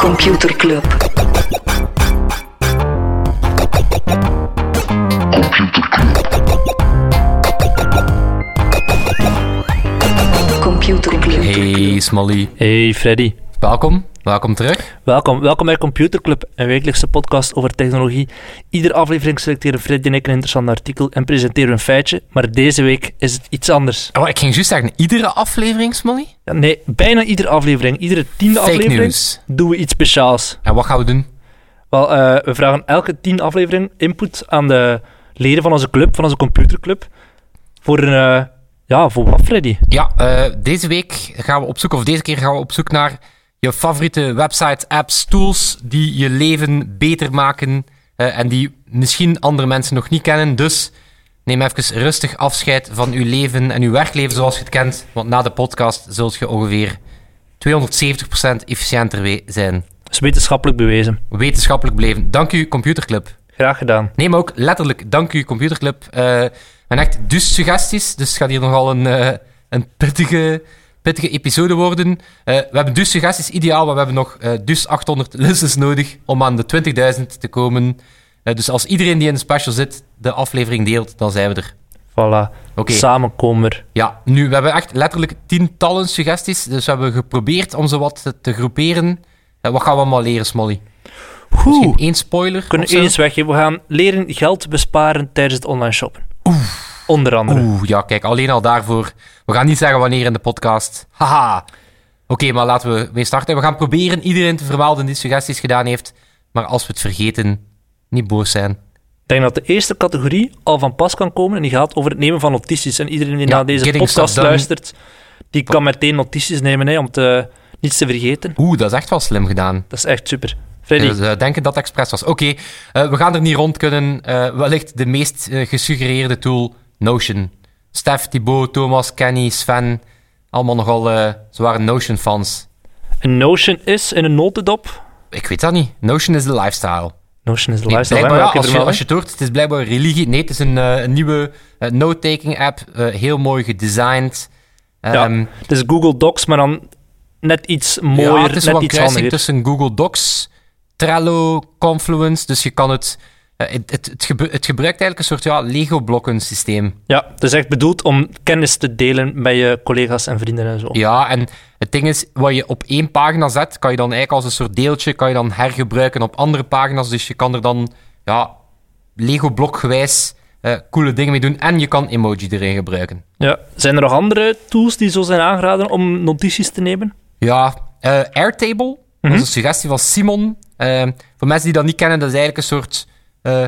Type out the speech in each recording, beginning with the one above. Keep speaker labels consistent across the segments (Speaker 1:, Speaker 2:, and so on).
Speaker 1: Computer Club. Computer Club.
Speaker 2: Hey Smolly,
Speaker 3: Hey Freddy.
Speaker 2: welkom. Welkom terug.
Speaker 3: Welkom, welkom bij Computer Club, een wekelijkse podcast over technologie. Iedere aflevering selecteren Freddy en ik een interessant artikel en presenteren we een feitje, maar deze week is het iets anders.
Speaker 2: Oh, ik ging juist zeggen, iedere aflevering, Smolly?
Speaker 3: Ja, nee, bijna iedere aflevering, iedere tiende
Speaker 2: Fake
Speaker 3: aflevering,
Speaker 2: news.
Speaker 3: doen we iets speciaals.
Speaker 2: En wat gaan we doen?
Speaker 3: Wel, eh, we vragen elke tien aflevering input aan de leden van onze club, van onze computerclub, voor een... eh, ja, voor wat, Freddy?
Speaker 2: Ja, eh, deze week gaan we op zoek, of deze keer gaan we op zoek naar je favoriete websites, apps, tools die je leven beter maken eh, en die misschien andere mensen nog niet kennen. Dus neem even rustig afscheid van uw leven en uw werkleven zoals je het kent, want na de podcast zult je ongeveer 270% efficiënter we- zijn.
Speaker 3: Dat is wetenschappelijk bewezen.
Speaker 2: Wetenschappelijk blijven. Dank u, Computerclub.
Speaker 3: Graag gedaan.
Speaker 2: Nee, maar ook letterlijk, dank u, Computerclub. Eh en echt dus suggesties, dus het gaat hier nogal een, eh, een pittige, pittige episode worden. Eh, we hebben dus suggesties, ideaal, maar we hebben nog eh, dus 800 listens nodig om aan de 20.000 te komen. Eh, dus als iedereen die in de special zit de aflevering deelt, dan zijn we er.
Speaker 3: Voilà.
Speaker 2: Oké.
Speaker 3: Samen komen we.
Speaker 2: Ja, nu, we hebben echt letterlijk tientallen suggesties, dus we hebben geprobeerd om ze wat te, te groeperen. Eh, wat gaan we allemaal leren, Smolly? Misschien één spoiler?
Speaker 3: We kunnen
Speaker 2: of zo?
Speaker 3: eens weggeven. We gaan leren geld besparen tijdens het online shoppen. Onder andere.
Speaker 2: Oeh, ja, kijk, alleen al daarvoor. We gaan niet zeggen wanneer in de podcast. Haha. Oké, maar laten we mee starten. We gaan proberen iedereen te vermelden die suggesties gedaan heeft. Maar als we het vergeten, niet boos zijn.
Speaker 3: Ik denk dat de eerste categorie al van pas kan komen. En die gaat over het nemen van notities. En iedereen die
Speaker 2: Ja,
Speaker 3: naar deze
Speaker 2: getting
Speaker 3: podcast
Speaker 2: stuff done.
Speaker 3: luistert, die kan meteen notities nemen hè, om te, niets te vergeten.
Speaker 2: Oeh, dat is echt wel slim gedaan.
Speaker 3: Dat is echt super. Freddy,
Speaker 2: Dus, eh, denken dat het expres was. Oké, eh, we gaan er niet rond kunnen. Eh, wellicht de meest eh, gesuggereerde tool, Notion. Stef, Thibaut, Thomas, Kenny, Sven. Allemaal nogal eh, zware Notion-fans.
Speaker 3: een Notion is in een notendop.
Speaker 2: Ik weet dat niet. Notion is de lifestyle.
Speaker 3: Notion is de
Speaker 2: Nee,
Speaker 3: lifestyle.
Speaker 2: blijkbaar,
Speaker 3: hè,
Speaker 2: ja,
Speaker 3: welke
Speaker 2: als,
Speaker 3: er
Speaker 2: je,
Speaker 3: wel,
Speaker 2: als
Speaker 3: hè?
Speaker 2: je het hoort, het is blijkbaar religie. Nee, het is een, eh, een nieuwe eh, note-taking app. eh, heel mooi gedesigned.
Speaker 3: Ja,
Speaker 2: Ehm,
Speaker 3: Het is Google Docs, maar dan net iets mooier,
Speaker 2: ja, het is wel
Speaker 3: net
Speaker 2: een
Speaker 3: iets
Speaker 2: kruising
Speaker 3: handiger.
Speaker 2: tussen Google Docs, Trello, Confluence. Dus je kan het... eh, het, het, het, gebru- het gebruikt eigenlijk een soort ja, Lego-blokken systeem.
Speaker 3: Ja, het is echt bedoeld om kennis te delen met je collega's en vrienden en zo.
Speaker 2: Ja, en het ding is, wat je op één pagina zet, kan je dan eigenlijk als een soort deeltje kan je dan hergebruiken op andere pagina's. Dus je kan er dan ja, Lego-blokgewijs eh, coole dingen mee doen. En je kan emoji erin gebruiken.
Speaker 3: Ja. Zijn er nog andere tools die zo zijn aangeraden om notities te nemen?
Speaker 2: Ja, eh, Airtable. Dat
Speaker 3: Mhm.
Speaker 2: is een suggestie van Simon. Eh, voor mensen die dat niet kennen, dat is eigenlijk een soort eh,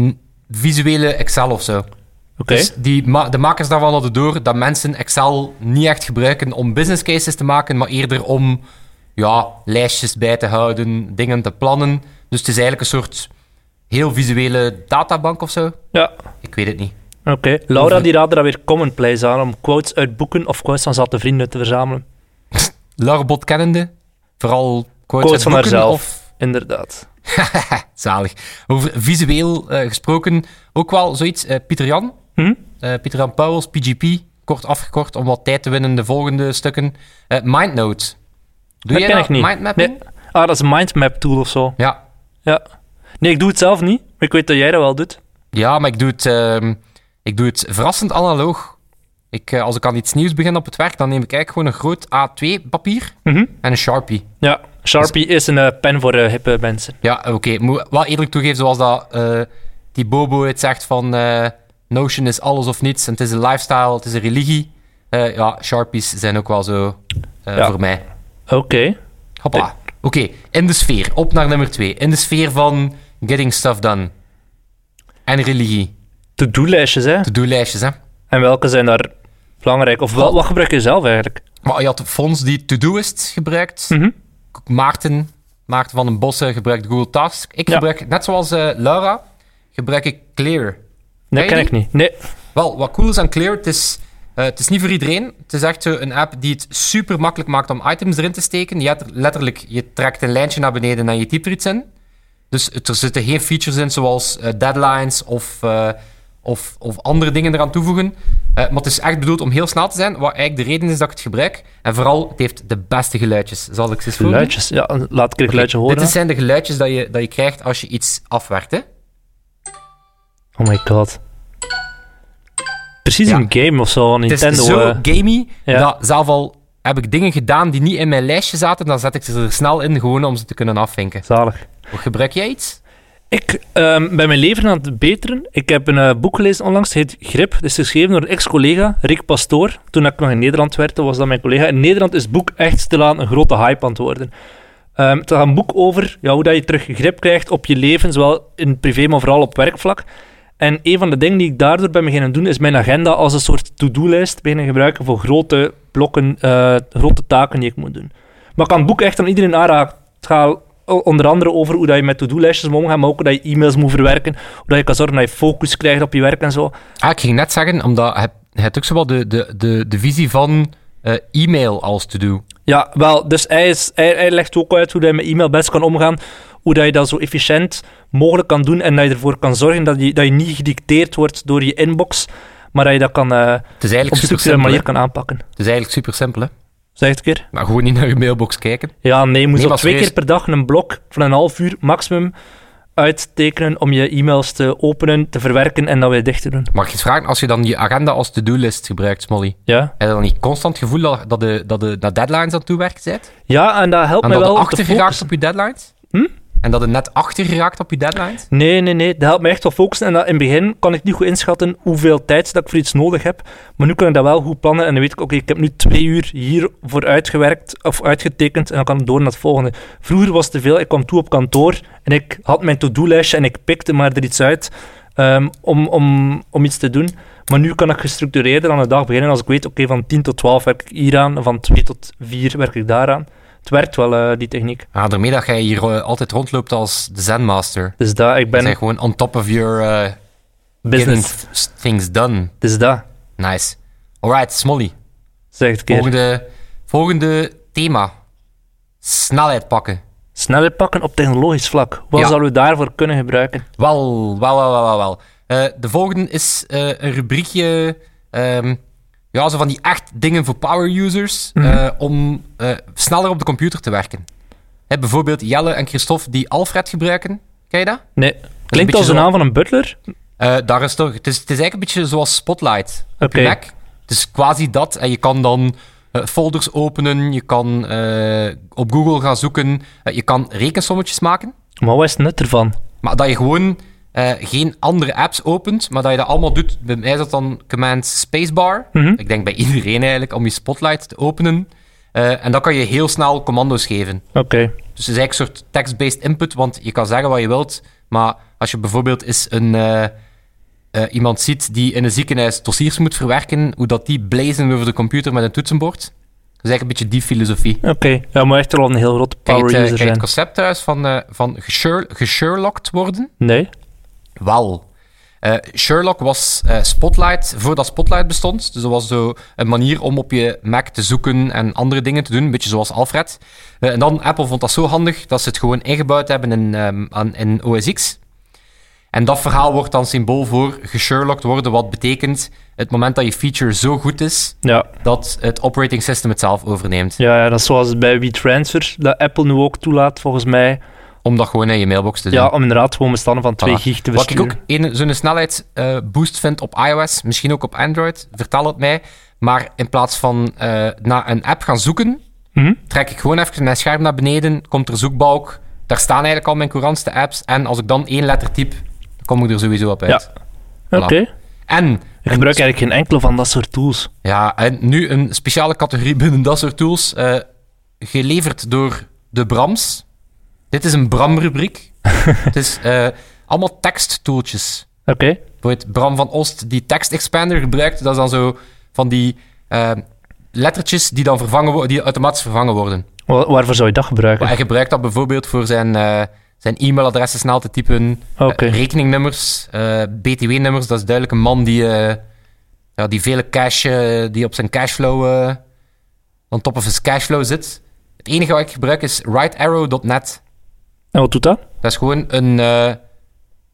Speaker 2: n- visuele Excel of zo.
Speaker 3: Oké.
Speaker 2: Dus die ma- de makers daarvan hadden door dat mensen Excel niet echt gebruiken om business cases te maken, maar eerder om ja, lijstjes bij te houden, dingen te plannen. Dus het is eigenlijk een soort heel visuele databank of zo.
Speaker 3: Ja.
Speaker 2: Ik weet het niet.
Speaker 3: Oké. Laura die raadde daar weer commonplace aan om quotes uit boeken of quotes van zatte vrienden te verzamelen.
Speaker 2: Larbot kennende, vooral quotes,
Speaker 3: Quotes van
Speaker 2: uit boeken
Speaker 3: haarzelf.
Speaker 2: of
Speaker 3: Inderdaad.
Speaker 2: Zalig. Over visueel eh, gesproken, ook wel zoiets. eh, Pieter Jan,
Speaker 3: Hm?
Speaker 2: eh, Pieter Jan Pauwels, PGP, kort afgekort om wat tijd te winnen in de volgende stukken. Eh Mindnote. Doe
Speaker 3: dat
Speaker 2: jij
Speaker 3: ken ik niet.
Speaker 2: mindmapping?
Speaker 3: Nee. Ah, dat is een mindmap tool of zo.
Speaker 2: Ja.
Speaker 3: Ja. Nee, ik doe het zelf niet, maar ik weet dat jij dat wel doet.
Speaker 2: ja, maar ik doe het, ehm, ik doe het verrassend analoog. Ik, eh, als ik aan iets nieuws begin op het werk, dan neem ik eigenlijk gewoon een groot A2-papier
Speaker 3: Mhm.
Speaker 2: en een Sharpie.
Speaker 3: Ja. Sharpie is een eh, pen voor eh, hippe mensen.
Speaker 2: Ja, oké. Ik Moet wel eerlijk toegeven, zoals dat eh die Bobo het zegt van eh, Notion is alles of niets. En het is een lifestyle, het is een religie. Eh, ja, Sharpies zijn ook wel zo eh,
Speaker 3: Ja.
Speaker 2: voor mij.
Speaker 3: Oké.
Speaker 2: Hoppa. Oké, in de sfeer. Op naar nummer twee. In de sfeer van getting stuff done. En religie.
Speaker 3: To-do-lijstjes, hè.
Speaker 2: To-do-lijstjes, hè.
Speaker 3: En welke zijn daar belangrijk? Of wel, wat gebruik je zelf eigenlijk?
Speaker 2: Maar je had Fons die to-doist gebruikt.
Speaker 3: Mhm.
Speaker 2: Maarten, Maarten van den Bossen gebruikt Google Tasks. Ik
Speaker 3: Ja.
Speaker 2: gebruik, net zoals eh, Laura, gebruik ik Clear.
Speaker 3: Nee,
Speaker 2: Ken
Speaker 3: ken
Speaker 2: je
Speaker 3: ik niet. Nee.
Speaker 2: Wel, wat cool is aan Clear, het is, eh, het is niet voor iedereen. Het is echt zo een app die het super makkelijk maakt om items erin te steken. Je hebt er letterlijk, je trekt een lijntje naar beneden en je typt er iets in. Dus het- er zitten geen features in zoals eh, deadlines of, eh, of, of andere dingen eraan toevoegen. Eh, Eh, maar het is echt bedoeld om heel snel te zijn, wat eigenlijk de reden is dat ik het gebruik. En vooral, het heeft de beste geluidjes. Zal ik ze eens voordoen?
Speaker 3: Geluidjes. Ja, laat ik een geluidje
Speaker 2: Oké,
Speaker 3: horen.
Speaker 2: Dit zijn de geluidjes dat je, dat je krijgt als je iets afwerkt. Hè?
Speaker 3: Oh my god. Precies
Speaker 2: Ja.
Speaker 3: een game of zo, een
Speaker 2: Het
Speaker 3: Nintendo.
Speaker 2: is zo
Speaker 3: eh.
Speaker 2: gamey
Speaker 3: Ja.
Speaker 2: dat zelf al heb ik dingen gedaan die niet in mijn lijstje zaten, dan zet ik ze er snel in, gewoon om ze te kunnen afvinken.
Speaker 3: Zalig.
Speaker 2: Gebruik jij iets?
Speaker 3: Ik ehm, ben mijn leven aan het beteren. Ik heb een eh, boek gelezen onlangs, het heet Grip. Het is geschreven door een ex-collega, Rick Pastoor. Toen ik nog in Nederland werkte, was dat mijn collega. In Nederland is het boek echt stilaan een grote hype aan het worden. Ehm, het gaat een boek over ja, hoe dat je terug grip krijgt op je leven, zowel in het privé, maar vooral op werkvlak. En een van de dingen die ik daardoor ben beginnen doen, is mijn agenda als een soort to-do-lijst beginnen gebruiken voor grote blokken, eh, grote taken die ik moet doen. Maar ik kan het boek echt aan iedereen aanraken. Het gaat o- onder andere over hoe dat je met to-do-lijstjes moet omgaan, maar ook hoe dat je e-mails moet verwerken, hoe dat je kan zorgen dat je focus krijgt op je werk en zo.
Speaker 2: Ah, ik ging net zeggen, omdat het, het ook zo wel de, de, de, de visie van eh, e-mail als to do.
Speaker 3: Ja, wel, dus hij, is, hij, hij legt ook uit hoe dat je met e-mail best kan omgaan, hoe dat je dat zo efficiënt mogelijk kan doen en dat je ervoor kan zorgen dat je, dat je niet gedicteerd wordt door je inbox, maar dat je dat kan, eh,
Speaker 2: Het is
Speaker 3: op een
Speaker 2: eigenlijk super
Speaker 3: structurele
Speaker 2: simpel. hè.
Speaker 3: manier kan aanpakken.
Speaker 2: Het is eigenlijk super simpel, hè?
Speaker 3: Zeg het een keer.
Speaker 2: Maar gewoon niet naar je mailbox kijken.
Speaker 3: Ja, nee, je moet
Speaker 2: Nee,
Speaker 3: zo
Speaker 2: maar
Speaker 3: twee keer
Speaker 2: serieus.
Speaker 3: per dag een blok van een half uur maximum uittekenen om je e-mails te openen, te verwerken en dat weer dicht te doen.
Speaker 2: Mag ik eens vragen, als je dan je agenda als to-do-list gebruikt, Smolly,
Speaker 3: Ja,
Speaker 2: heb je dan niet constant het gevoel dat- dat de, dat de naar deadlines aan het toewerken bent?
Speaker 3: ja en dat helpt
Speaker 2: En
Speaker 3: mij
Speaker 2: dat
Speaker 3: wel
Speaker 2: je
Speaker 3: om te
Speaker 2: achter geraakt
Speaker 3: focussen.
Speaker 2: op je deadlines?
Speaker 3: Hm?
Speaker 2: En dat je net achter geraakt op je deadlines?
Speaker 3: Nee, nee, nee. Dat helpt mij echt wel focussen. En dat, in het begin kan ik niet goed inschatten hoeveel tijd dat ik voor iets nodig heb. Maar nu kan ik dat wel goed plannen. En dan weet ik, oké, ik heb nu twee uur hiervoor uitgewerkt of uitgetekend. En dan kan ik door naar het volgende. Vroeger was het te veel. Ik kwam toe op kantoor en ik had mijn to-do-lijstje en ik pikte maar er iets uit ehm, om, om, om iets te doen. Maar nu kan ik gestructureerder aan de dag beginnen. Als ik weet, oké, van 10 tot 12 werk ik hieraan. en Van 2 tot 4 werk ik daaraan. Het werkt wel, eh, die techniek.
Speaker 2: Ah, daarmee dat jij hier eh, altijd rondloopt als de zenmaster.
Speaker 3: Dus dat, ik
Speaker 2: Ben... Zijn
Speaker 3: ben
Speaker 2: gewoon on top of your eh,
Speaker 3: business.
Speaker 2: getting th- things done.
Speaker 3: Dus dat,
Speaker 2: Nice. Alright, Smolly.
Speaker 3: zeg het keer.
Speaker 2: Volgende, volgende thema. Snelheid pakken.
Speaker 3: Sneller pakken op technologisch vlak. Wat
Speaker 2: Ja.
Speaker 3: zouden we daarvoor kunnen gebruiken?
Speaker 2: Wel, wel, wel, wel, wel. wel. Eh, de volgende is eh, een rubriekje. ehm, ja, zo van die echt dingen voor power users.
Speaker 3: Mhm.
Speaker 2: eh, om eh, sneller op de computer te werken. Hè, bijvoorbeeld Jelle en Christophe die Alfred gebruiken. Ken je dat?
Speaker 3: Nee, klinkt
Speaker 2: beetje
Speaker 3: als de
Speaker 2: zo-
Speaker 3: naam van een butler.
Speaker 2: Eh, daar is toch, het, is, het is eigenlijk een beetje zoals Spotlight op
Speaker 3: Oké.
Speaker 2: je Mac. Het is quasi dat. En je kan dan eh, folders openen, je kan eh, op Google gaan zoeken, eh, je kan rekensommetjes maken.
Speaker 3: Maar wat is het nut ervan?
Speaker 2: Maar dat je gewoon eh, geen andere apps opent, maar dat je dat allemaal doet. Bij mij is dat dan command spacebar.
Speaker 3: Mhm.
Speaker 2: Ik denk bij iedereen eigenlijk, om je Spotlight te openen. Eh, en dan kan je heel snel commando's geven.
Speaker 3: Oké,
Speaker 2: Dus het is eigenlijk een soort text-based input, want je kan zeggen wat je wilt, maar als je bijvoorbeeld eens een, eh, eh, iemand ziet die in een ziekenhuis dossiers moet verwerken, hoe dat die blazen over de computer met een toetsenbord. Dat is eigenlijk een beetje die filosofie.
Speaker 3: oké. Ja, maar echt wel een heel grote
Speaker 2: Kijk het,
Speaker 3: power
Speaker 2: eh,
Speaker 3: user
Speaker 2: ken je het
Speaker 3: zijn.
Speaker 2: concept thuis van, eh, van gesher- gesherlocked worden?
Speaker 3: Nee?
Speaker 2: Wel. Eh, Sherlock was eh, Spotlight, voordat Spotlight bestond. Dus dat was zo een manier om op je Mac te zoeken en andere dingen te doen. Een beetje zoals Alfred. Eh, en dan, Apple vond dat zo handig dat ze het gewoon ingebouwd hebben in, ehm, aan, in OS X. En dat verhaal wordt dan symbool voor gesherlocked worden, wat betekent het moment dat je feature zo goed is,
Speaker 3: Ja.
Speaker 2: dat het operating system het zelf overneemt.
Speaker 3: Ja, ja, dat is zoals bij WeTransfer, dat Apple nu ook toelaat, volgens mij.
Speaker 2: Om dat gewoon in je mailbox te doen.
Speaker 3: Ja, om inderdaad gewoon bestanden van 2
Speaker 2: Voilà.
Speaker 3: gig te
Speaker 2: Wat ik
Speaker 3: versturen.
Speaker 2: ook een- zo'n snelheidsboost vind op iOS, misschien ook op Android, vertel het mij. Maar in plaats van eh, naar een app gaan zoeken,
Speaker 3: Mhm.
Speaker 2: trek ik gewoon even mijn scherm naar beneden, komt er zoekbalk, daar staan eigenlijk al mijn courantste apps. En als ik dan één letter typ, dan kom ik er sowieso op uit.
Speaker 3: Oké.
Speaker 2: En, dus-
Speaker 3: Ik gebruik eigenlijk geen enkele van dat soort tools.
Speaker 2: ja, en nu een speciale categorie binnen dat soort tools, eh, geleverd door de Brams. Dit is een Bram-rubriek. Het is eh, allemaal teksttoeltjes.
Speaker 3: Oké.
Speaker 2: Bijvoorbeeld Bram van Oost die tekst expander gebruikt. Dat is dan zo van die eh, lettertjes die dan vervangen wo- die automatisch vervangen worden.
Speaker 3: Wa- Waarvoor zou je dat gebruiken?
Speaker 2: Maar hij gebruikt dat bijvoorbeeld voor zijn, eh, zijn e-mailadressen snel te typen, eh,
Speaker 3: Oké.
Speaker 2: rekeningnummers, eh, btw-nummers. Dat is duidelijk een man die, eh, ja, die vele cash, eh, die op zijn cashflow, eh on top of his cashflow zit. Het enige wat ik gebruik is rightarrow.net.
Speaker 3: En wat doet dat?
Speaker 2: Dat is gewoon een, eh, eh,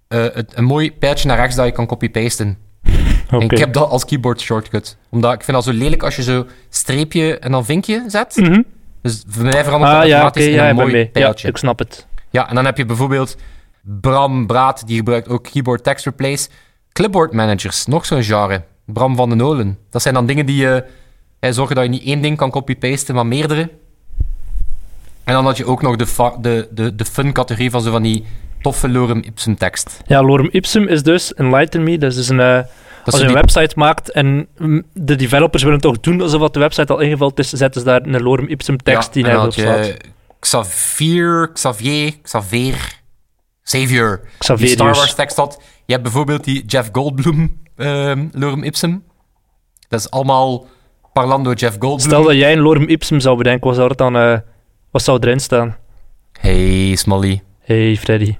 Speaker 2: het- een mooi pijltje naar rechts dat je kan copy-pasten.
Speaker 3: Oké.
Speaker 2: En ik heb dat als keyboard shortcut. Omdat ik vind dat zo lelijk als je zo streepje en dan vinkje zet.
Speaker 3: Mhm.
Speaker 2: Dus voor mij verandert dat
Speaker 3: Ah ja, oké,
Speaker 2: automatisch in
Speaker 3: ja,
Speaker 2: een
Speaker 3: ik ben
Speaker 2: mooi
Speaker 3: mee. Ja,
Speaker 2: pijltje.
Speaker 3: ik snap het.
Speaker 2: Ja, en dan heb je bijvoorbeeld Bram Braat, die gebruikt ook keyboard text replace. Clipboard managers, nog zo'n genre. Bram van den Nolen. Dat zijn dan dingen die eh, eh, zorgen dat je niet één ding kan copy-pasten, maar meerdere. En dan had je ook nog de, fa- de, de, de fun-categorie van zo van die toffe lorem ipsum tekst.
Speaker 3: Ja, Lorem Ipsum is dus Enlighten Me. Dat is dus een, eh,
Speaker 2: Dat is
Speaker 3: als je
Speaker 2: zo
Speaker 3: een
Speaker 2: die-
Speaker 3: website maakt en mm, de developers willen toch doen alsof wat de website al ingevuld is, zetten ze daar een Lorem Ipsum tekst
Speaker 2: Ja,
Speaker 3: die
Speaker 2: en dan
Speaker 3: daarop
Speaker 2: had
Speaker 3: staat.
Speaker 2: je Xavier, Xavier, Xavier, Xavier. Die
Speaker 3: Xaverius.
Speaker 2: Star Wars tekst had. Je hebt bijvoorbeeld die Jeff Goldblum, ehm Lorem Ipsum. Dat is allemaal parlando Jeff Goldblum.
Speaker 3: Stel dat jij een Lorem Ipsum zou bedenken, wat zou, dat dan, eh, wat zou erin staan?
Speaker 2: Hey, Smolly.
Speaker 3: Hey Freddy.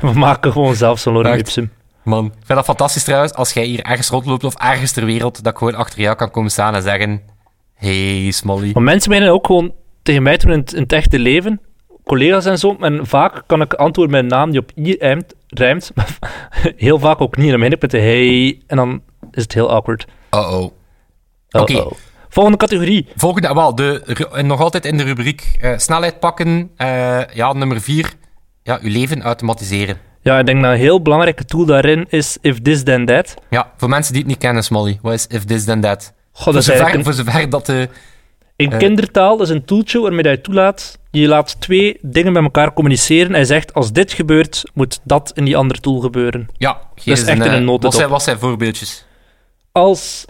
Speaker 3: We maken gewoon zelf zo'n Lorem
Speaker 2: Echt?
Speaker 3: Ipsum.
Speaker 2: Man, ik vind dat fantastisch trouwens, als jij hier ergens rondloopt of ergens ter wereld, dat ik gewoon achter jou kan komen staan en zeggen... Hey, Smolly.
Speaker 3: Maar mensen menen ook gewoon tegen mij toen in het, in het echte leven, collega's en zo, en vaak kan ik antwoorden met een naam die op i rijmt, rijmt maar heel vaak ook niet. En dan begin ik met de hey, en dan is het heel awkward.
Speaker 2: Uh-oh.
Speaker 3: Uh-oh.
Speaker 2: Oké.
Speaker 3: Volgende categorie.
Speaker 2: Volgende, ah, wel, de, ru- en nog altijd in de rubriek eh, snelheid pakken. eh, ja, nummer vier. Ja, uw leven automatiseren.
Speaker 3: Ja, ik denk dat een heel belangrijke tool daarin is If This Then That.
Speaker 2: Ja, voor mensen die het niet kennen, Smolly. Wat is if this then that?
Speaker 3: God, Oh, dat
Speaker 2: voor,
Speaker 3: is
Speaker 2: zover,
Speaker 3: eigenlijk
Speaker 2: voor zover dat de...
Speaker 3: een, in
Speaker 2: eh.
Speaker 3: kindertaal is een tooltje waarmee dat je toelaat. Je laat twee dingen met elkaar communiceren. Hij zegt, als dit gebeurt, moet dat in die andere tool gebeuren.
Speaker 2: Ja, hier
Speaker 3: is echt in
Speaker 2: eh,
Speaker 3: een notendop.
Speaker 2: Wat zijn, wat zijn voorbeeldjes?
Speaker 3: Als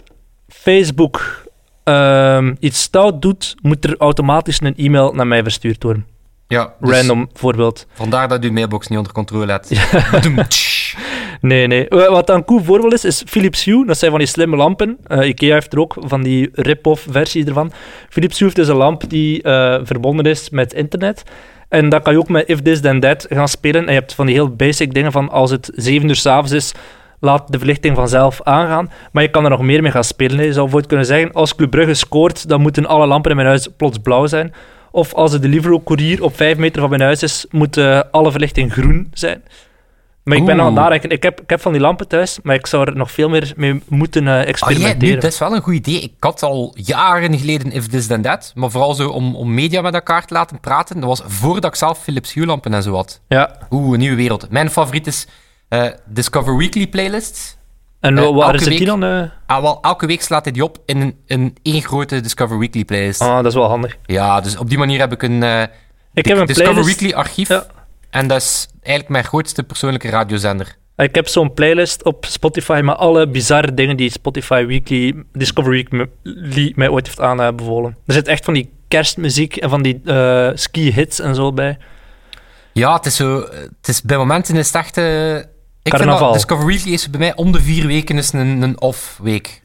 Speaker 3: Facebook ehm, iets stout doet, moet er automatisch een e-mail naar mij verstuurd worden.
Speaker 2: Ja, dus
Speaker 3: Random voorbeeld.
Speaker 2: Vandaar dat u uw mailbox niet onder controle hebt. Ah,
Speaker 3: Nee, nee. Wa- Wat dan een cool voorbeeld is, is Philips Hue. Dat zijn van die slimme lampen. Eh, Ikea heeft er ook van die rip-off versie ervan. Philips Hue heeft dus een lamp die eh, verbonden is met internet. En dan kan je ook met If This Then That gaan spelen. En je hebt van die heel basic dingen van als het 7 uur s'avonds is, laat de verlichting vanzelf aangaan. Maar je kan er nog meer mee gaan spelen. hè. Je zou bijvoorbeeld kunnen zeggen, als Club Brugge scoort, dan moeten alle lampen in mijn huis plots blauw zijn. Of als de Deliveroo-courier op 5 meter van mijn huis is, moet eh, alle verlichting groen zijn. Maar ik ben aan het
Speaker 2: Oeh.
Speaker 3: nadenken. Ik heb, ik heb van die lampen thuis, maar ik zou er nog veel meer mee moeten eh,
Speaker 2: Ah, ja, nu,
Speaker 3: experimenteren.
Speaker 2: dat is wel een goed idee. Ik had al jaren geleden If This Then That. Maar vooral zo om, om media met elkaar te laten praten. Dat was voordat ik zelf Philips Hue lampen en zo had.
Speaker 3: ja.
Speaker 2: Oeh, een nieuwe wereld. Mijn favoriet is eh, Discover Weekly playlist.
Speaker 3: En
Speaker 2: Eh,
Speaker 3: wa- waar
Speaker 2: elke
Speaker 3: is het die
Speaker 2: week-
Speaker 3: dan? eh?
Speaker 2: Ah, wel, elke week slaat hij die op in een, een één grote Discover Weekly playlist.
Speaker 3: Ah, dat is wel handig.
Speaker 2: Ja, dus op die manier heb ik een... eh,
Speaker 3: Ik heb een
Speaker 2: Discover
Speaker 3: playlist.
Speaker 2: Weekly archief.
Speaker 3: Ja.
Speaker 2: En dat is eigenlijk mijn grootste persoonlijke radiozender.
Speaker 3: Ik heb zo'n playlist op Spotify met alle bizarre dingen die Spotify Weekly, Discover Weekly mij ooit heeft aanbevolen. Er zit echt van die kerstmuziek en van die eh, ski-hits en zo bij.
Speaker 2: Ja, het is zo... Het is bij momenten is het echt... eh, ik vind
Speaker 3: Carnaval.
Speaker 2: dat Discover Weekly is bij mij om de vier weken eens een, een off-week.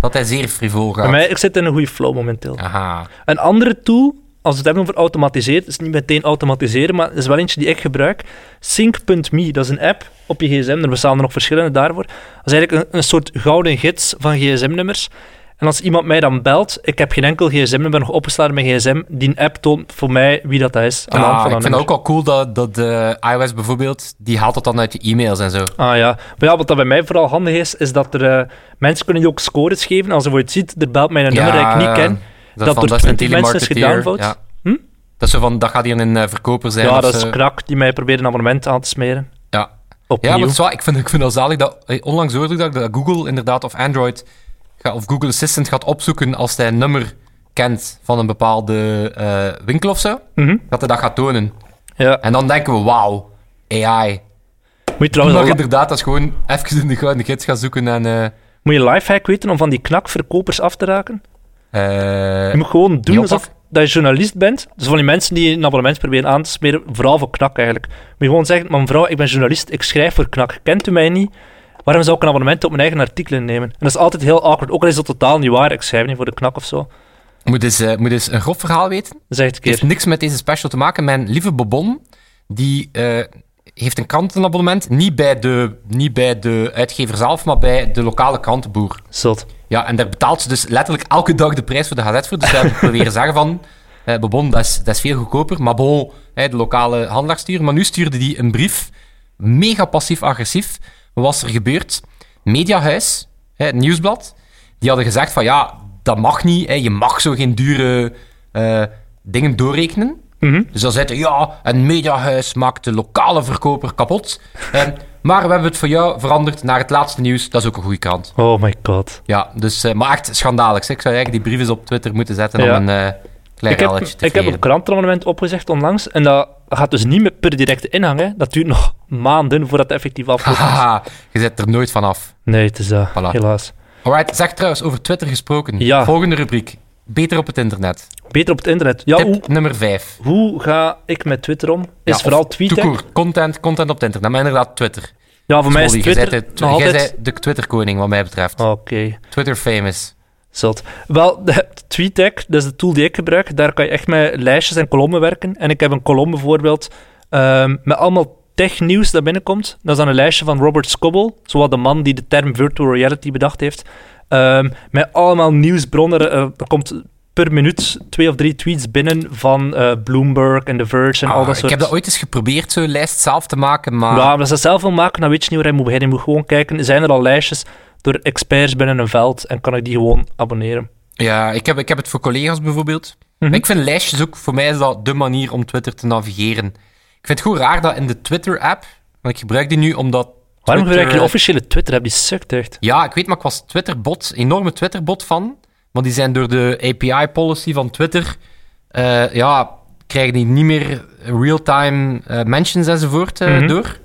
Speaker 2: dat hij zeer frivol gaat.
Speaker 3: Bij mij, ik zit in een goede flow momenteel.
Speaker 2: Aha.
Speaker 3: Een andere tool, als we het hebben over automatiseren, is niet meteen automatiseren, maar is wel eentje die ik gebruik. Sync.me, dat is een app op je gsm. Er bestaan er nog verschillende daarvoor. Dat is eigenlijk een, een soort gouden gids van gsm-nummers. En als iemand mij dan belt, ik heb geen enkel gsm-nummer nog opgeslagen in mijn gsm, die app toont voor mij wie dat, dat is. Aan de hand
Speaker 2: Ah,
Speaker 3: van
Speaker 2: ik
Speaker 3: dat
Speaker 2: vind het
Speaker 3: nummer.
Speaker 2: ook al cool dat, dat eh, iOS bijvoorbeeld, die haalt dat dan uit je e-mails en zo.
Speaker 3: Ah ja. Maar ja, wat dat bij mij vooral handig is, is dat er eh, mensen kunnen je ook scores geven. Als je voor het ziet, er belt mij een nummer dat ik niet ken.
Speaker 2: Dat,
Speaker 3: dat
Speaker 2: van,
Speaker 3: door
Speaker 2: dat is een
Speaker 3: 20 mensen is
Speaker 2: telemarketeer.
Speaker 3: gedownload.
Speaker 2: Ja.
Speaker 3: Hm?
Speaker 2: Dat is zo van, dat gaat hier een eh, verkoper zijn.
Speaker 3: Ja,
Speaker 2: of
Speaker 3: dat is
Speaker 2: zo.
Speaker 3: krak die mij probeert een abonnement aan te smeren.
Speaker 2: Ja. Ja,
Speaker 3: Opnieuw.
Speaker 2: maar het is wel- ik vind, ik vind dat zalig dat... eh, Onlangs hoorde ik dat, dat Google inderdaad, of Android, ga- of Google Assistant gaat opzoeken als hij een nummer kent van een bepaalde eh, winkel of zo.
Speaker 3: Mhm.
Speaker 2: Dat hij dat gaat tonen.
Speaker 3: Ja,
Speaker 2: En dan denken we, wauw, AI.
Speaker 3: moet je
Speaker 2: Maar
Speaker 3: trouwens al-
Speaker 2: inderdaad, dat is gewoon even in de gouden gids gaan zoeken en... eh,
Speaker 3: moet je lifehack weten om van die knakverkopers af te raken?
Speaker 2: eh,
Speaker 3: Je moet gewoon doen
Speaker 2: niet
Speaker 3: alsof
Speaker 2: oppakken.
Speaker 3: dat je journalist bent. Dus van die mensen die een abonnement proberen aan te smeren, vooral voor knak eigenlijk. Moet je gewoon zeggen, "Maar mevrouw, ik ben journalist, ik schrijf voor knak. Kent u mij niet? Waarom zou ik een abonnement op mijn eigen artikelen nemen? En dat is altijd heel awkward, ook al is dat totaal niet waar. Ik schrijf niet voor de knak of zo.
Speaker 2: moet, eens, eh, moet eens een grof verhaal weten.
Speaker 3: Zeg het een
Speaker 2: Het
Speaker 3: keer.
Speaker 2: heeft niks met deze special te maken. Mijn lieve Bobon, die eh, heeft een krantenabonnement. Niet bij, de, niet bij de uitgever zelf, maar bij de lokale krantenboer.
Speaker 3: Zot.
Speaker 2: Ja, en daar betaalt ze dus letterlijk elke dag de prijs voor de gazet voor. Dus we hebben proberen zeggen van... eh, bon, dat is, dat is veel goedkoper. Maar bon, hè, de lokale handelaar sturen. Maar nu stuurde die een brief. Mega passief-agressief. Wat was er gebeurd? mediahuis, hè, het nieuwsblad, die hadden gezegd van ja, dat mag niet. Hè, je mag zo geen dure eh, dingen doorrekenen. Dus dan zeiden ja, een mediahuis maakt de lokale verkoper kapot. Eh, maar we hebben het voor jou veranderd naar het laatste nieuws. Dat is ook een goede krant.
Speaker 3: Oh my god.
Speaker 2: Ja, dus, eh, maar echt schandalig. zeg. Ik zou eigenlijk die briefjes op Twitter moeten zetten
Speaker 3: Ja.
Speaker 2: om een eh, klein
Speaker 3: Ik heb,
Speaker 2: relletje te
Speaker 3: ik heb
Speaker 2: creëren.
Speaker 3: een krantenabonnement opgezegd onlangs. En dat gaat dus niet meer per directe inhangen. Dat duurt nog maanden voordat het effectief afloopt.
Speaker 2: Haha, je zet er nooit van af.
Speaker 3: Nee, het is dat.
Speaker 2: Voilà.
Speaker 3: Helaas.
Speaker 2: Alright, zeg trouwens, over Twitter gesproken.
Speaker 3: Ja.
Speaker 2: Volgende rubriek. Beter op het internet.
Speaker 3: Beter op het internet. Ja, hoe,
Speaker 2: Tip nummer 5.
Speaker 3: hoe ga ik met Twitter om? Is vooral tweeten.
Speaker 2: Content, content op het internet. Maar inderdaad, Twitter.
Speaker 3: Ja, voor mij is
Speaker 2: Smolly, jij
Speaker 3: Twitter
Speaker 2: zijt de-
Speaker 3: nog
Speaker 2: jij
Speaker 3: altijd...
Speaker 2: zijt de Twitter-koning, wat mij betreft.
Speaker 3: Oké,
Speaker 2: Twitter famous.
Speaker 3: zot. Wel, de TweetDeck, dat is de tool die ik gebruik. Daar kan je echt met lijstjes en kolommen werken. En ik heb een kolom bijvoorbeeld ehm, met allemaal technieuws dat binnenkomt. Dat is dan een lijstje van Robert Scoble, zowel de man die de term virtual reality bedacht heeft. Ehm, met allemaal nieuwsbronnen. eh, er komt per minuut twee of drie tweets binnen van eh, Bloomberg en The Verge en al
Speaker 2: Ah,
Speaker 3: dat
Speaker 2: Ik
Speaker 3: soort...
Speaker 2: heb dat ooit eens geprobeerd, zo'n lijst zelf te maken, maar...
Speaker 3: Ja, maar als je dat zelf wil maken, dan weet je niet waar je moet beginnen. Je moet gewoon kijken, zijn er al lijstjes door experts binnen een veld en kan ik die gewoon abonneren?
Speaker 2: Ja, ik heb, ik heb het voor collega's bijvoorbeeld.
Speaker 3: Mhm.
Speaker 2: Ik vind lijstjes ook, voor mij is dat de manier om Twitter te navigeren. Ik vind het gewoon raar dat in de Twitter-app, want ik gebruik die nu omdat... Twitter,
Speaker 3: Waarom gebruik je de
Speaker 2: eh,
Speaker 3: officiële Twitter? app? Die sukt echt.
Speaker 2: Ja, ik weet, maar ik was Twitter-bot, enorme Twitter-bot van. Want die zijn door de API-policy van Twitter... eh, ja, krijgen die niet meer real-time eh, mentions enzovoort eh,
Speaker 3: Mhm.
Speaker 2: door.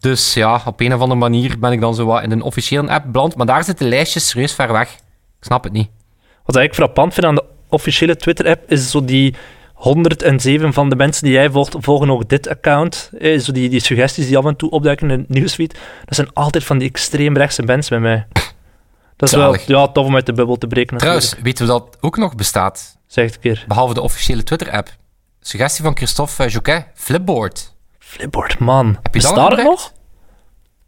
Speaker 2: Dus ja, op een of andere manier ben ik dan zo wat in een officiële app beland. Maar daar zitten lijstjes serieus ver weg. Ik snap het niet.
Speaker 3: Wat ik frappant vind aan de officiële Twitter-app is zo die 107 van de mensen die jij volgt, volgen ook dit account. Eh, zo die, die suggesties die af en toe opduiken in het nieuwsfeed. Dat zijn altijd van die extreem rechtse mensen bij mij. Dat is
Speaker 2: Zalig.
Speaker 3: wel ja, tof om uit de bubbel te breken. natuurlijk.
Speaker 2: Trouwens, weten we dat ook nog bestaat?
Speaker 3: Zeg het een keer.
Speaker 2: Behalve de officiële Twitter-app. Suggestie van Christophe eh, Jouquet. Flipboard.
Speaker 3: Flipboard, man.
Speaker 2: je dat
Speaker 3: Bestaat
Speaker 2: al
Speaker 3: het
Speaker 2: gebruikt?
Speaker 3: nog?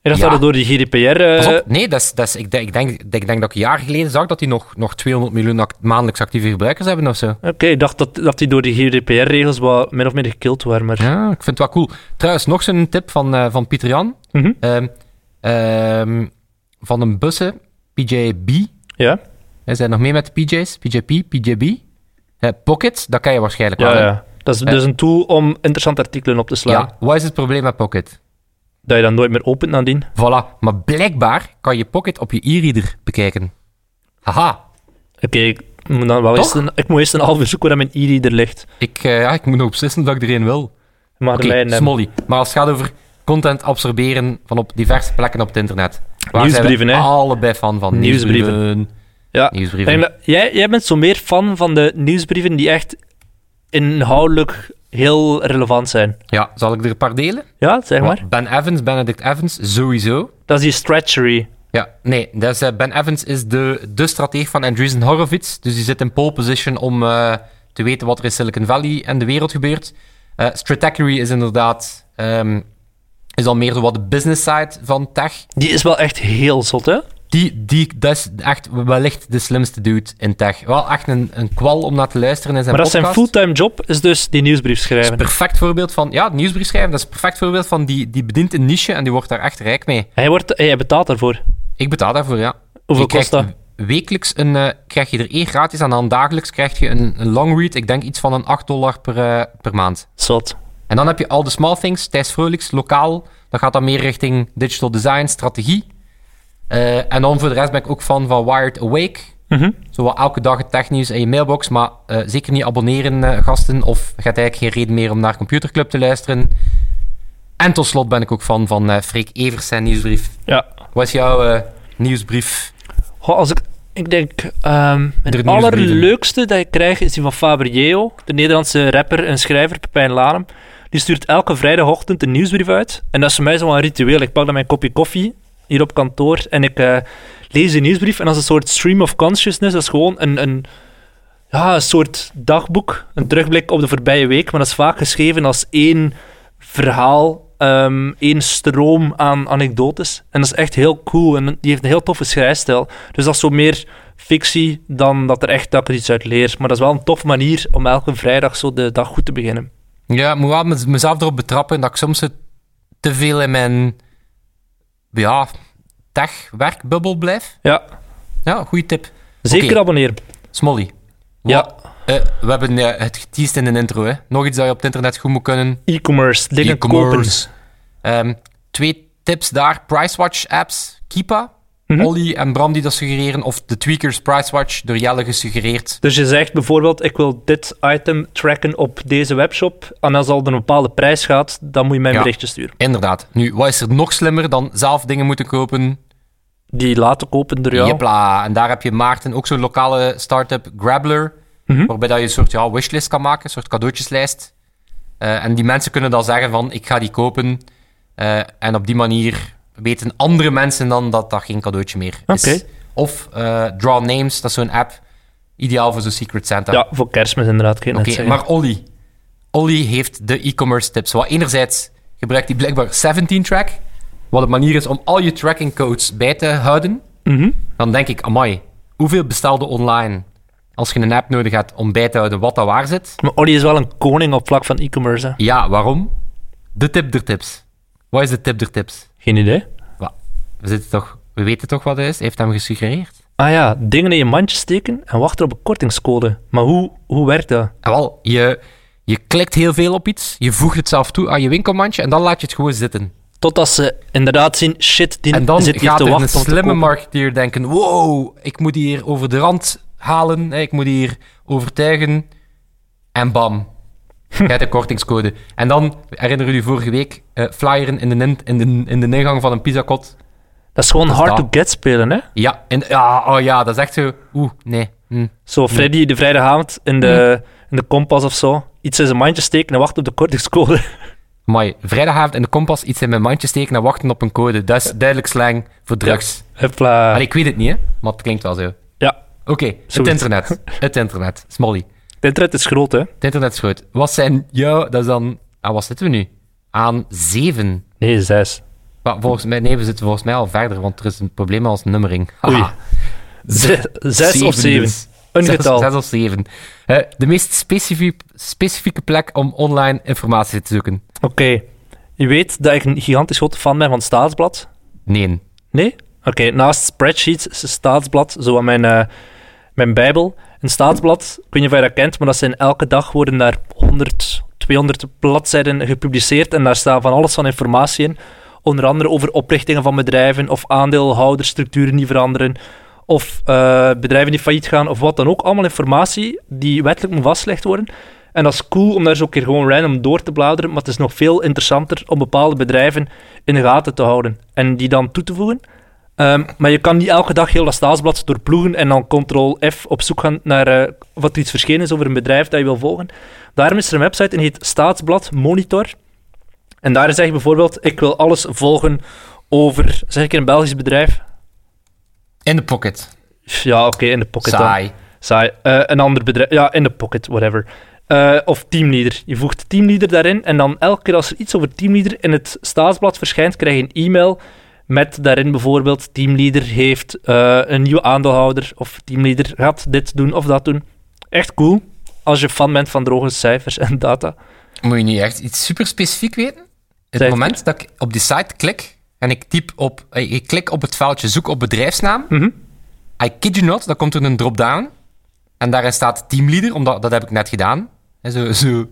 Speaker 3: Ik dacht
Speaker 2: Ja.
Speaker 3: dat het door die GDPR...
Speaker 2: Pas
Speaker 3: eh,
Speaker 2: op. Nee, dat is, dat is, ik, denk, ik, denk, ik denk dat ik een jaar geleden zag dat die nog, nog 200 miljoen act- maandelijks actieve gebruikers hebben of zo.
Speaker 3: Oké, ik dacht dat, dat die door de GDPR-regels wel min of meer gekild waren, maar...
Speaker 2: Ja, ik vind het wel cool. Trouwens, nog zo'n tip van, eh, van Pieter Jan.
Speaker 3: Mhm.
Speaker 2: Ehm, ehm, van een bussen, PJB.
Speaker 3: Ja?
Speaker 2: Er zijn nog meer met PJ's, PJP, PJB. Eh, Pocket, dat ken je waarschijnlijk
Speaker 3: Ja,
Speaker 2: wel. hè?
Speaker 3: ja. Dat is dus een tool om interessante artikelen op te slaan,
Speaker 2: ja. Wat is het probleem met Pocket?
Speaker 3: dat je dan nooit meer opent nadien.
Speaker 2: Voilà, maar blijkbaar kan je Pocket op je e-reader bekijken. Haha,
Speaker 3: Oké, ik moet dan wel
Speaker 2: Toch?
Speaker 3: eerst een, ik moet eerst een half uur zoeken waar mijn e-reader ligt.
Speaker 2: Ik, eh, ja, ik moet nog beslissen dat ik er een wil.
Speaker 3: Maar
Speaker 2: Oké,
Speaker 3: mijn, eh,
Speaker 2: Smolly. Maar als het gaat over content absorberen van op diverse plekken op het internet.
Speaker 3: Nieuwsbrieven,
Speaker 2: zijn
Speaker 3: hè?
Speaker 2: we allebei fan van.
Speaker 3: Nieuwsbrieven. ja. Ik
Speaker 2: Nieuwsbrieven.
Speaker 3: denk dat- jij, jij bent zo meer fan van de nieuwsbrieven die echt inhoudelijk heel relevant zijn.
Speaker 2: Ja, zal ik er een paar delen?
Speaker 3: Ja, zeg maar.
Speaker 2: Ben Evans, Benedict Evans, sowieso.
Speaker 3: Dat is die stretchery.
Speaker 2: Ja, nee. Dus, eh, ben Evans is de, de strateeg van Andreessen Horowitz. Dus die zit in pole position om eh, te weten wat er in Silicon Valley en de wereld gebeurt. Eh Stratechery is inderdaad... ehm, is al meer zo wat de business side van tech.
Speaker 3: Die is wel echt heel zot, hè?
Speaker 2: Die, die, dat is echt wellicht de slimste dude in tech. Wel echt een, een kwal om naar te luisteren in zijn
Speaker 3: Maar dat zijn
Speaker 2: podcast.
Speaker 3: fulltime job is dus die nieuwsbrief
Speaker 2: Dat is
Speaker 3: schrijven.
Speaker 2: perfect voorbeeld van... Ja, het nieuwsbrief schrijven, dat is een perfect voorbeeld van... Die, die bedient een niche en die wordt daar echt rijk mee.
Speaker 3: Hij, wordt, hij betaalt daarvoor.
Speaker 2: Ik betaal daarvoor, ja.
Speaker 3: Hoeveel
Speaker 2: je krijgt
Speaker 3: kost dat?
Speaker 2: Wekelijks een, eh, krijg je er één gratis en dan dagelijks krijg je een, een long read. Ik denk iets van een 8 dollar per, eh, per maand.
Speaker 3: Zot.
Speaker 2: En dan heb je al de small things. Thijs Vrolijks, lokaal. Dan gaat dat meer richting digital design, strategie. Eh, en dan voor de rest ben ik ook fan van Wired Awake.
Speaker 3: Mhm.
Speaker 2: Zowel elke dag het technieuws in je mailbox, maar eh, zeker niet abonneren, eh, gasten. Of je hebt eigenlijk geen reden meer om naar Computerclub te luisteren. En tot slot ben ik ook fan van eh Freek Evers zijn nieuwsbrief.
Speaker 3: Ja.
Speaker 2: Wat is jouw eh, nieuwsbrief?
Speaker 3: Goh, als ik, ik denk, ehm
Speaker 2: De
Speaker 3: het
Speaker 2: nieuwsbrieven.
Speaker 3: allerleukste dat ik krijg is die van Faber Yeo, de Nederlandse rapper en schrijver Pepijn Lanem. Die stuurt elke vrijdagochtend een nieuwsbrief uit. En dat is voor mij zo'n ritueel. Ik pak dan mijn kopje koffie hier op kantoor en ik eh, lees die nieuwsbrief. En dat is een soort stream of consciousness. Dat is gewoon een, een, ja, een soort dagboek, een terugblik op de voorbije week. Maar dat is vaak geschreven als één verhaal, ehm, één stroom aan anekdotes. En dat is echt heel cool. En die heeft een heel toffe schrijfstijl. Dus dat is zo meer fictie dan dat er echt dat ik er iets uit leer. Maar dat is wel een toffe manier om elke vrijdag zo de dag goed te beginnen.
Speaker 2: Ja, ik moet wel mez- mezelf erop betrappen dat ik soms het te veel in mijn ja, tech-werkbubbel blijf.
Speaker 3: Ja,
Speaker 2: Ja, goede tip.
Speaker 3: zeker
Speaker 2: Oké.
Speaker 3: abonneren.
Speaker 2: Smolly. wa-
Speaker 3: Ja,
Speaker 2: eh, we hebben eh, het geteased in de intro. Hè. Nog iets dat je op het internet goed moet kunnen.
Speaker 3: e-commerce, dingen kopen.
Speaker 2: E-commerce. Ehm, twee tips daar. Pricewatch apps. Kipa.
Speaker 3: Mhm.
Speaker 2: Olly en Bram die dat suggereren. Of de Tweakers Pricewatch door Jelle gesuggereerd.
Speaker 3: Dus je zegt bijvoorbeeld, ik wil dit item tracken op deze webshop. En als al een bepaalde prijs gaat, dan moet je mij een
Speaker 2: Ja.
Speaker 3: berichtje sturen.
Speaker 2: Inderdaad. Nu, wat is er nog slimmer dan zelf dingen moeten kopen?
Speaker 3: Die laten kopen door jou.
Speaker 2: Jepla. En daar heb je Maarten ook zo'n lokale start-up, Grabbler.
Speaker 3: Mhm.
Speaker 2: Waarbij dat je een soort ja, wishlist kan maken, een soort cadeautjeslijst. Eh, en die mensen kunnen dan zeggen van, ik ga die kopen. Eh, en op die manier weten andere mensen dan dat dat geen cadeautje meer is.
Speaker 3: Oké.
Speaker 2: Of eh, Draw Names, dat is zo'n app. Ideaal voor zo'n Secret Santa.
Speaker 3: Ja, voor kerstmis inderdaad. kan je net
Speaker 2: Oké,
Speaker 3: zeggen.
Speaker 2: maar Olly. Olly heeft de e-commerce tips. Wat enerzijds gebruikt hij blijkbaar 17-track. Wat een manier is om al je tracking codes bij te houden.
Speaker 3: Mhm.
Speaker 2: Dan denk ik, amai, hoeveel bestelde online als je een app nodig hebt om bij te houden wat daar waar zit?
Speaker 3: Maar Olly is wel een koning op vlak van e-commerce. hè.
Speaker 2: Ja, waarom? De tip der tips. Wat is de tip der tips?
Speaker 3: Geen idee.
Speaker 2: Wa- We, zitten toch, we weten toch wat het is? Hij heeft hem gesuggereerd.
Speaker 3: Ah ja, dingen in je mandje steken en wachten op een kortingscode. Maar hoe, hoe werkt dat?
Speaker 2: En Ah, wel, je, je klikt heel veel op iets, je voegt het zelf toe aan je winkelmandje en dan laat je het gewoon zitten.
Speaker 3: Totdat ze inderdaad zien, shit, die
Speaker 2: En dan
Speaker 3: zit hier
Speaker 2: gaat
Speaker 3: te
Speaker 2: er
Speaker 3: wachten
Speaker 2: een
Speaker 3: om te
Speaker 2: slimme
Speaker 3: kopen.
Speaker 2: marketeer denken: wow, ik moet hier over de rand halen, hè, ik moet hier overtuigen. En bam, krijg de kortingscode. En dan, herinner jullie vorige week, eh, flyeren in de, nin- in, de, in de ingang van een pizzakot.
Speaker 3: Dat is gewoon
Speaker 2: is dat.
Speaker 3: hard-to-get spelen, hè?
Speaker 2: Ja, in, ja, oh ja, dat is echt zo. Oeh, nee. hm.
Speaker 3: Zo Freddy de vrijdagavond in de, in de kompas of zo. Iets in zijn mandje steken en wachten op de kortingscode.
Speaker 2: Amai, vrijdagavond in de kompas iets in mijn mandje steken en wachten op een code. Dat is duidelijk slang voor drugs.
Speaker 3: Hupla.
Speaker 2: Maar ik weet het niet, hè? maar het klinkt wel zo. Oké,
Speaker 3: Ja,
Speaker 2: het
Speaker 3: Zoiets.
Speaker 2: internet. Het internet. Smolly.
Speaker 3: de internet is groot, hè?
Speaker 2: Het internet is groot. Wat zijn jou, dat is dan, aan wat zitten we nu? Aan zeven.
Speaker 3: Nee, zes.
Speaker 2: Maar volgens mij, nee, we zitten volgens mij al verder, want er is een probleem met onze nummering.
Speaker 3: Oei.
Speaker 2: Haha.
Speaker 3: Ze- zes of
Speaker 2: dus.
Speaker 3: zeven. Een
Speaker 2: Zes-
Speaker 3: getal.
Speaker 2: Zes of zeven. Eh, de meest specifie- specifieke plek om online informatie te zoeken.
Speaker 3: Oké. Je weet dat ik een gigantisch grote fan ben van het Staatsblad.
Speaker 2: Nee.
Speaker 3: Nee? Oké, naast spreadsheets is het Staatsblad, zo aan mijn, eh, mijn bijbel. Een Staatsblad, ik weet niet of je dat kent, maar dat zijn elke dag worden daar 100, 200 bladzijden gepubliceerd en daar staan van alles van informatie in. Onder andere over oprichtingen van bedrijven of aandeelhoudersstructuren die veranderen. Of eh, bedrijven die failliet gaan of wat dan ook. Allemaal informatie die wettelijk moet vastgelegd worden. En dat is cool om daar zo een keer gewoon random door te bladeren. Maar het is nog veel interessanter om bepaalde bedrijven in de gaten te houden. En die dan toe te voegen. Ehm, maar je kan niet elke dag heel dat staatsblad doorploegen en dan ctrl-f op zoek gaan naar eh, wat er iets verschenen is over een bedrijf dat je wil volgen. Daarom is er een website en die heet Staatsblad Monitor. En daar zeg je bijvoorbeeld, ik wil alles volgen over, zeg ik een Belgisch bedrijf?
Speaker 2: In de pocket.
Speaker 3: Ja, oké, in de pocket dan.
Speaker 2: Saai.
Speaker 3: Saai. Eh, een ander bedrijf. Ja, in de pocket, whatever. Eh, of teamleader. Je voegt teamleader daarin en dan elke keer als er iets over teamleader in het staatsblad verschijnt, krijg je een e-mail met daarin bijvoorbeeld teamleader heeft eh, een nieuwe aandeelhouder of teamleader gaat dit doen of dat doen. Echt cool. Als je fan bent van droge cijfers en data.
Speaker 2: Moet je nu echt iets super specifiek weten? Het
Speaker 3: Zeg-
Speaker 2: moment dat ik op die site klik en ik typ op, eh, ik klik op het veldje zoek op bedrijfsnaam.
Speaker 3: Mhm.
Speaker 2: I kid you not, dan komt er een drop-down. En daarin staat teamleader, omdat dat heb ik net gedaan. Hè, Zo, zo,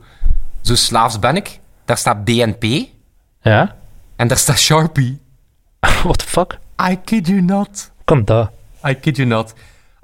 Speaker 2: zo slaafs ben ik. Daar staat BNP
Speaker 3: Ja?
Speaker 2: en daar staat Sharpie.
Speaker 3: What the fuck?
Speaker 2: I kid you not.
Speaker 3: Kan dat?
Speaker 2: I kid you not.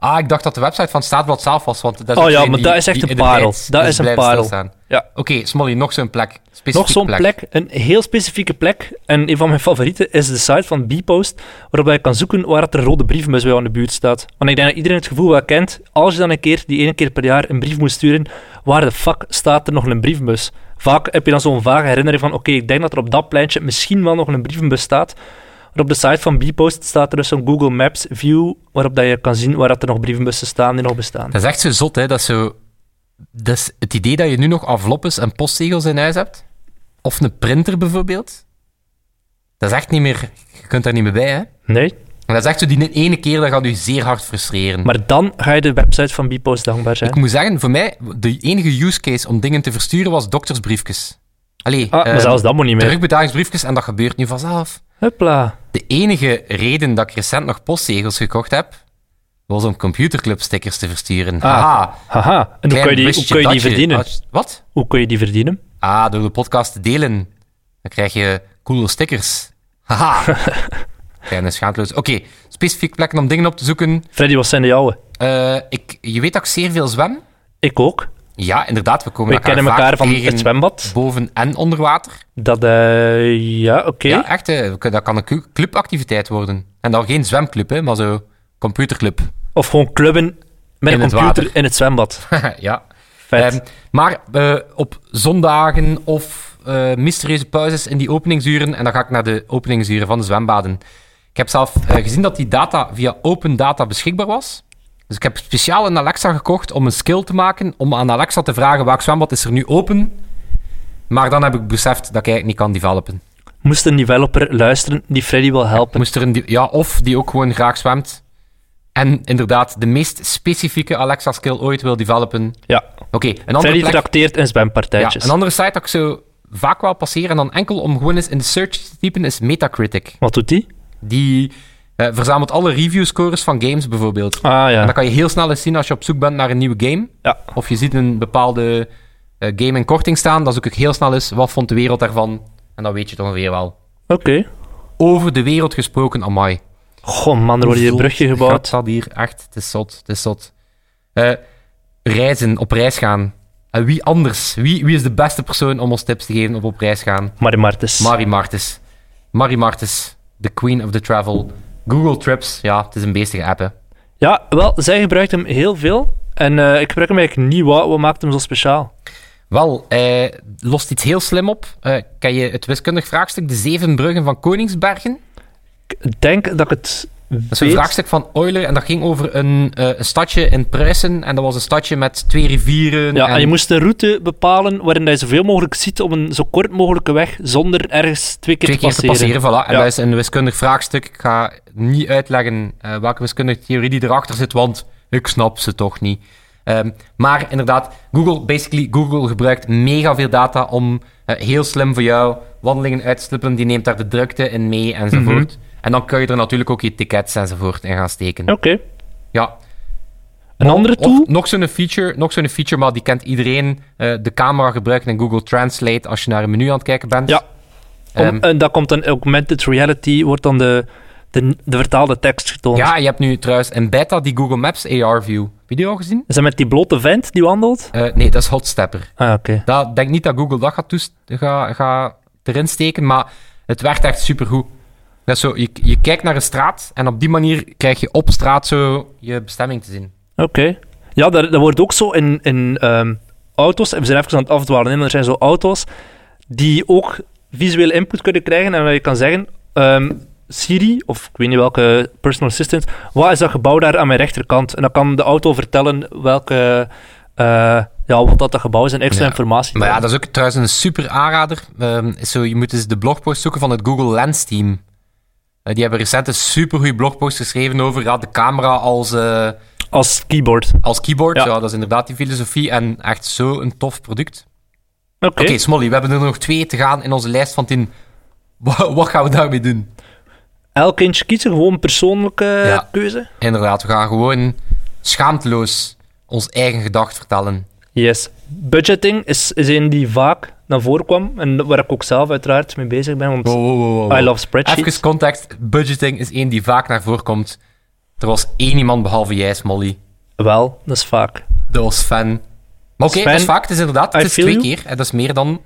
Speaker 2: Ah, ik dacht dat de website van Staatblad zelf was. Want dat is
Speaker 3: Oh
Speaker 2: ook
Speaker 3: ja,
Speaker 2: geen
Speaker 3: maar
Speaker 2: die-
Speaker 3: dat is echt
Speaker 2: die
Speaker 3: een
Speaker 2: in de
Speaker 3: parel.
Speaker 2: gids
Speaker 3: Dat
Speaker 2: dus
Speaker 3: is een
Speaker 2: blijven
Speaker 3: parel.
Speaker 2: stilstaan.
Speaker 3: Ja.
Speaker 2: Oké, Smolly, nog zo'n plek. Specifieke
Speaker 3: Nog zo'n plek. een heel specifieke plek. En een van mijn favorieten is de site van Bpost, waarop je kan zoeken waar het een rode brievenbus bij jou in de buurt staat. Want ik denk dat iedereen het gevoel wel kent, als je dan een keer, die ene keer per jaar, een brief moet sturen, waar de fuck staat er nog een brievenbus? Vaak heb je dan zo'n vage herinnering van, oké, ik denk dat er op dat pleintje misschien wel nog een brievenbus staat. Maar op de site van Bpost staat er dus zo'n Google Maps view, waarop dat je kan zien waar dat er nog brievenbussen staan die nog bestaan.
Speaker 2: Dat is echt zo zot, hè? Dat is zo. Dat is het idee dat je nu nog enveloppes en postzegels in huis hebt. Of een printer bijvoorbeeld. Dat is echt niet meer. Je kunt daar niet meer bij, hè?
Speaker 3: Nee?
Speaker 2: En dat is echt zo die ene keer, dat gaat u zeer hard frustreren.
Speaker 3: Maar dan ga je de website van Bpost dankbaar zijn.
Speaker 2: ik moet zeggen, voor mij, de enige use case om dingen te versturen was doktersbriefjes. Allee,
Speaker 3: Ah, maar
Speaker 2: eh,
Speaker 3: zelfs dat moet niet meer.
Speaker 2: terugbetalingsbriefjes en dat gebeurt nu vanzelf.
Speaker 3: Huppla.
Speaker 2: De enige reden dat ik recent nog postzegels gekocht heb, was om computerclubstickers te versturen. Haha.
Speaker 3: Haha. Ah. En hoe
Speaker 2: Klein
Speaker 3: kun je die, hoe
Speaker 2: wist
Speaker 3: kun je die
Speaker 2: dat
Speaker 3: verdienen?
Speaker 2: als- Wat?
Speaker 3: Hoe kun je die verdienen?
Speaker 2: Ah, door de podcast te delen. Dan krijg je coole stickers. Haha. Kleine schaamteloos. Oké, specifiek plekken om dingen op te zoeken.
Speaker 3: Freddy, wat zijn de jouwe?
Speaker 2: Eh, ik, je weet dat ik zeer veel zwem.
Speaker 3: Ik ook.
Speaker 2: Ja, inderdaad, we komen
Speaker 3: We kennen
Speaker 2: vaak
Speaker 3: elkaar van
Speaker 2: tegen
Speaker 3: het zwembad.
Speaker 2: boven en onder water.
Speaker 3: Dat, eh, ja, oké.
Speaker 2: Ja, echt. eh, we kun- dat kan een cu- clubactiviteit worden. En dan geen zwemclub, hè, maar zo computerclub.
Speaker 3: Of gewoon clubben met
Speaker 2: In
Speaker 3: een
Speaker 2: het
Speaker 3: computer
Speaker 2: water.
Speaker 3: in het zwembad.
Speaker 2: ja.
Speaker 3: Vet.
Speaker 2: Ehm, maar eh, op zondagen of eh, mysterieuze pauzes in die openingsuren. En dan ga ik naar de openingsuren van de zwembaden. Ik heb zelf eh, gezien dat die data via open data beschikbaar was. Dus ik heb speciaal een Alexa gekocht om een skill te maken. Om aan Alexa te vragen welk zwembad is er nu open. Maar dan heb ik beseft dat ik eigenlijk niet kan developen.
Speaker 3: Moest een developer luisteren die Freddy wil helpen.
Speaker 2: Moest er een, die- ja, of die ook gewoon graag zwemt. En inderdaad, de meest specifieke Alexa-skill ooit wil developen.
Speaker 3: Ja.
Speaker 2: Oké, een andere
Speaker 3: Freddy
Speaker 2: plek...
Speaker 3: trakteert in
Speaker 2: Ja,
Speaker 3: zwempartijtjes.
Speaker 2: een andere site dat ik zo vaak wel passeer en dan enkel om gewoon eens in de search te typen is Metacritic.
Speaker 3: Wat doet die?
Speaker 2: Die eh, verzamelt alle reviewscores van games bijvoorbeeld.
Speaker 3: Ah
Speaker 2: En
Speaker 3: ja.
Speaker 2: dat kan je heel snel eens zien als je op zoek bent naar een nieuwe game.
Speaker 3: Ja.
Speaker 2: Of je ziet een bepaalde eh, game in korting staan, dan zoek ik heel snel eens wat vond de wereld daarvan. En dan weet je het ongeveer wel.
Speaker 3: Oké.
Speaker 2: Over de wereld gesproken, amai.
Speaker 3: Goh man, er wordt hier een brugje gebouwd.
Speaker 2: Het dat hier echt, het is zot, het is zot. Eh, reizen, op reis gaan. En wie anders? Wie, wie is de beste persoon om ons tips te geven op op reis gaan?
Speaker 3: Maar Martens.
Speaker 2: Marie Martens. Marie Martens, the queen of the travel. Google Trips, ja, het is een beestige app, hè.
Speaker 3: Ja, wel, zij gebruikt hem heel veel. En eh, ik gebruik hem eigenlijk niet. Wat, wat maakt hem zo speciaal?
Speaker 2: Wel, eh, lost iets heel slim op. Eh kan je het wiskundig vraagstuk, de zeven bruggen van Koningsbergen?
Speaker 3: Ik denk dat ik het
Speaker 2: Dat is een vraagstuk van Euler en dat ging over een, eh, een stadje in Pruisen. En dat was een stadje met twee rivieren.
Speaker 3: Ja, en... je moest een route bepalen waarin dat je zoveel mogelijk ziet op een zo kort mogelijke weg, zonder ergens twee keer,
Speaker 2: twee
Speaker 3: te,
Speaker 2: keer te
Speaker 3: passeren.
Speaker 2: passeren, voilà. En
Speaker 3: Ja.
Speaker 2: dat is een wiskundig vraagstuk. Ik ga niet uitleggen eh, welke wiskundige theorie die erachter zit, want ik snap ze toch niet. Ehm, maar inderdaad, Google, basically, Google gebruikt mega veel data om eh, heel slim voor jou wandelingen uit te stippelen. Die neemt daar de drukte in mee enzovoort.
Speaker 3: Mhm.
Speaker 2: En dan kun je er natuurlijk ook je tickets enzovoort in gaan steken.
Speaker 3: Oké.
Speaker 2: Ja.
Speaker 3: Een andere
Speaker 2: Of
Speaker 3: tool?
Speaker 2: nog zo'n feature, nog zo'n feature, maar die kent iedereen. eh, de camera gebruiken in Google Translate als je naar een menu aan het kijken bent.
Speaker 3: Ja. Om-
Speaker 2: Ehm,
Speaker 3: en dat komt dan augmented reality, wordt dan de, de, de vertaalde tekst getoond.
Speaker 2: Ja, je hebt nu trouwens in beta die Google Maps AR View. Heb je die al gezien?
Speaker 3: Is dat met die blote vent die wandelt?
Speaker 2: Eh, nee, dat is Hotstepper.
Speaker 3: Ah, oké.
Speaker 2: Ik denk niet dat Google dat gaat, toest- ga, ga erin steken, maar het werkt echt supergoed. Dat is zo, je, je kijkt naar een straat en op die manier krijg je op straat zo je bestemming te zien.
Speaker 3: Oké. Ja, dat, dat wordt ook zo in, in ehm, auto's. En we zijn even aan het afdwalen, hè, maar er zijn zo auto's die ook visuele input kunnen krijgen. En waar je kan zeggen: ehm, Siri, of ik weet niet welke personal assistant, wat is dat gebouw daar aan mijn rechterkant? En dan kan de auto vertellen welke. eh, ja, wat dat, dat gebouw is en extra
Speaker 2: Ja.
Speaker 3: informatie.
Speaker 2: Maar ja, dat is ook trouwens een super aanrader. Ehm, is zo, je moet eens de blogpost zoeken van het Google Lens team. Eh, die hebben recent een supergoeie blogpost geschreven over ja, de camera als... eh,
Speaker 3: Als keyboard.
Speaker 2: als keyboard,
Speaker 3: Ja.
Speaker 2: ja. dat is inderdaad die filosofie. En echt zo'n tof product.
Speaker 3: Oké.
Speaker 2: Oké, Smolly, we hebben er nog twee te gaan in onze lijst van tien. Wa- Wat gaan we daarmee doen?
Speaker 3: Elk eentje kiezen, gewoon persoonlijke
Speaker 2: Ja.
Speaker 3: keuze.
Speaker 2: Inderdaad, we gaan gewoon schaamteloos ons eigen gedacht vertellen.
Speaker 3: Yes. Budgeting is, is een die vaak naar voren kwam en waar ik ook zelf uiteraard mee bezig ben.
Speaker 2: Oh.
Speaker 3: Want I love spreadsheets.
Speaker 2: Even context. Budgeting is één die vaak naar voren komt. Er was één iemand behalve jij, Smolly.
Speaker 3: Wel, dat is vaak.
Speaker 2: Dat was fan. Maar oké,
Speaker 3: Sven,
Speaker 2: dat is vaak. Het is inderdaad het
Speaker 3: I
Speaker 2: is
Speaker 3: feel
Speaker 2: twee
Speaker 3: you.
Speaker 2: keer. En dat is meer dan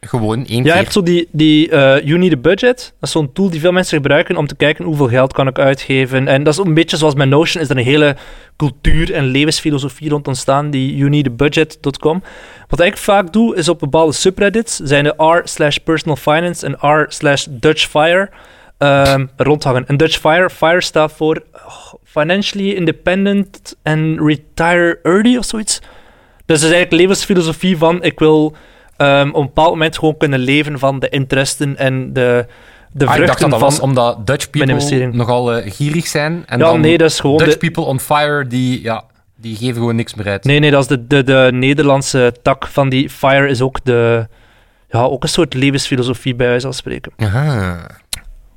Speaker 2: gewoon één
Speaker 3: Ja, je
Speaker 2: keer.
Speaker 3: hebt zo die, die eh You Need a Budget. Dat is zo'n tool die veel mensen gebruiken om te kijken hoeveel geld kan ik uitgeven. En dat is een beetje zoals met Notion, is er een hele cultuur en levensfilosofie rond ontstaan, die youneedabudget.com. Wat ik vaak doe, is op bepaalde subreddits, zijn de r slash personal finance en r slash Dutch Fire ehm, rondhangen. En Dutch Fire, Fire staat voor oh, Financially Independent and Retire Early of zoiets. Dus dat is eigenlijk levensfilosofie van ik wil ehm, op een bepaald moment gewoon kunnen leven van de interesten en de, de
Speaker 2: Ah,
Speaker 3: vruchten
Speaker 2: ik dacht dat dat
Speaker 3: van...
Speaker 2: was omdat Dutch people
Speaker 3: investering.
Speaker 2: nogal eh, gierig zijn. En
Speaker 3: ja,
Speaker 2: dan
Speaker 3: nee, dat is gewoon
Speaker 2: Dutch
Speaker 3: de...
Speaker 2: people on fire, die, ja, die geven gewoon niks meer uit.
Speaker 3: Nee, nee, dat is de, de, de Nederlandse tak van die Fire is ook de... Ja, ook een soort levensfilosofie bij wijze van spreken.
Speaker 2: Aha.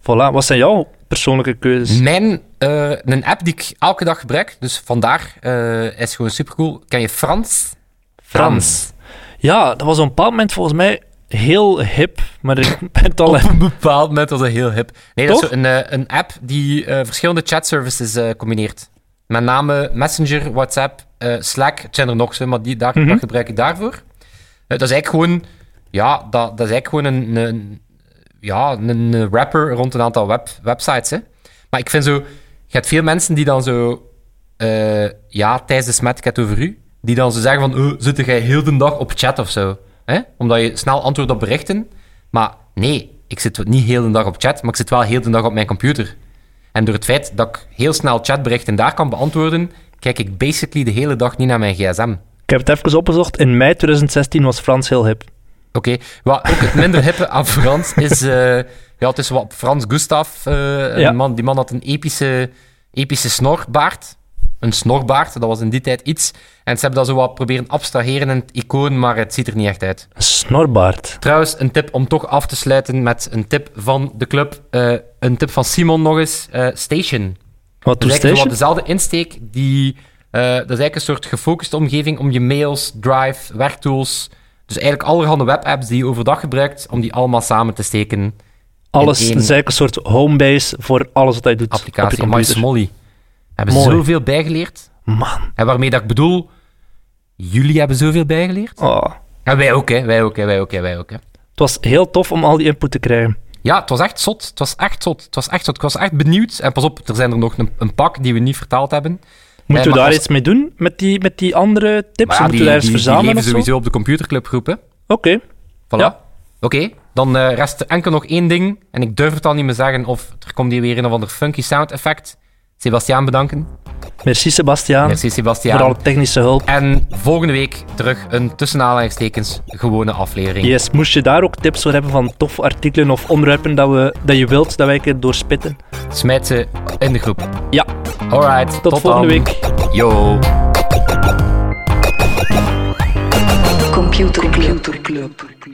Speaker 3: Voilà, wat zijn jouw persoonlijke keuzes?
Speaker 2: Mijn, eh, een app die ik elke dag gebruik, dus vandaar, eh, is gewoon supercool. Ken je Frans?
Speaker 3: Ja, dat was op een bepaald moment volgens mij heel hip, maar ik ben het al...
Speaker 2: Op een bepaald moment was dat heel hip. Nee, dat
Speaker 3: Toch?
Speaker 2: is zo een, eh, een app die eh, verschillende chatservices eh, combineert. Met name Messenger, WhatsApp, eh, Slack, het zijn er nog zo, maar die daar,
Speaker 3: Mhm.
Speaker 2: dat gebruik ik daarvoor. Eh, dat is eigenlijk gewoon, ja, dat, dat is eigenlijk gewoon een, een, ja, een eh, wrapper rond een aantal web, websites. Hè. Maar ik vind zo, je hebt veel mensen die dan zo, eh, ja, tijdens de smet, ik heb het over u, die dan zo zeggen van, oh, zit jij heel de dag op chat of zo? Hè? Omdat je snel antwoordt op berichten. Maar nee, ik zit niet heel de dag op chat, maar ik zit wel heel de dag op mijn computer. En door het feit dat ik heel snel chatberichten daar kan beantwoorden, kijk ik basically de hele dag niet naar mijn gsm.
Speaker 3: Ik heb het even opgezocht. In mei 2016 was Frans heel hip.
Speaker 2: Oké, wat ook het minder hippe aan Frans is... eh, ja, het is wat Frans Gustaf. eh,
Speaker 3: Ja.
Speaker 2: een man, die man had een epische, epische snorbaard. Een snorbaard, dat was in die tijd iets. En ze hebben dat zo wat proberen abstraheren in het icoon, maar het ziet er niet echt uit.
Speaker 3: Een snorbaard.
Speaker 2: Trouwens, een tip om toch af te sluiten met een tip van de club. eh, een tip van Simon nog eens. eh, Station.
Speaker 3: Wat doet
Speaker 2: Dat is eigenlijk zo wat
Speaker 3: Station?
Speaker 2: dezelfde insteek. Die, eh, dat is eigenlijk een soort gefocuste omgeving om je mails, drive, werktools... Dus eigenlijk allerhande webapps die je overdag gebruikt, om die allemaal samen te steken.
Speaker 3: Alles
Speaker 2: in
Speaker 3: het
Speaker 2: één-
Speaker 3: is eigenlijk een soort homebase voor alles wat hij doet. op je
Speaker 2: Applicatie, My
Speaker 3: computer.
Speaker 2: Smolly. Hebben
Speaker 3: Mooi.
Speaker 2: zoveel bijgeleerd.
Speaker 3: Man.
Speaker 2: En waarmee dat ik bedoel, jullie hebben zoveel bijgeleerd.
Speaker 3: Oh.
Speaker 2: En wij ook, hè. Wij ook, hè. Wij ook, hè. Wij ook, hè.
Speaker 3: Het was heel tof om al die input te krijgen.
Speaker 2: Ja, het was echt zot. Het was echt zot. Het was echt zot. Ik was echt benieuwd. En pas op, er zijn er nog een, een pak die we niet vertaald hebben.
Speaker 3: Moeten
Speaker 2: maar
Speaker 3: we daar
Speaker 2: als-
Speaker 3: iets mee doen? Met die, met die andere tips?
Speaker 2: Maar ja,
Speaker 3: moeten we
Speaker 2: die,
Speaker 3: daar eens
Speaker 2: die, die
Speaker 3: verzamelen
Speaker 2: leven
Speaker 3: of zo?
Speaker 2: sowieso op de computerclubgroepen.
Speaker 3: Oké.
Speaker 2: Voilà.
Speaker 3: Ja.
Speaker 2: Oké, dan eh, rest er enkel nog één ding. En ik durf het al niet meer zeggen of er komt hier weer een of ander funky sound effect. Sebastiaan bedanken.
Speaker 3: Merci Sebastiaan
Speaker 2: Merci Sebastiaan.
Speaker 3: voor alle technische hulp.
Speaker 2: En volgende week terug een tussen aanhalingstekens gewone aflevering.
Speaker 3: Yes, moest je daar ook tips voor hebben van toffe artikelen of onderwerpen dat, we, dat je wilt dat wij een keer doorspitten?
Speaker 2: Smijt ze in de groep.
Speaker 3: Ja,
Speaker 2: Alright, tot,
Speaker 3: tot, volgende
Speaker 2: dan.
Speaker 3: week.
Speaker 2: Yo.
Speaker 1: Computer Club. Computer Club.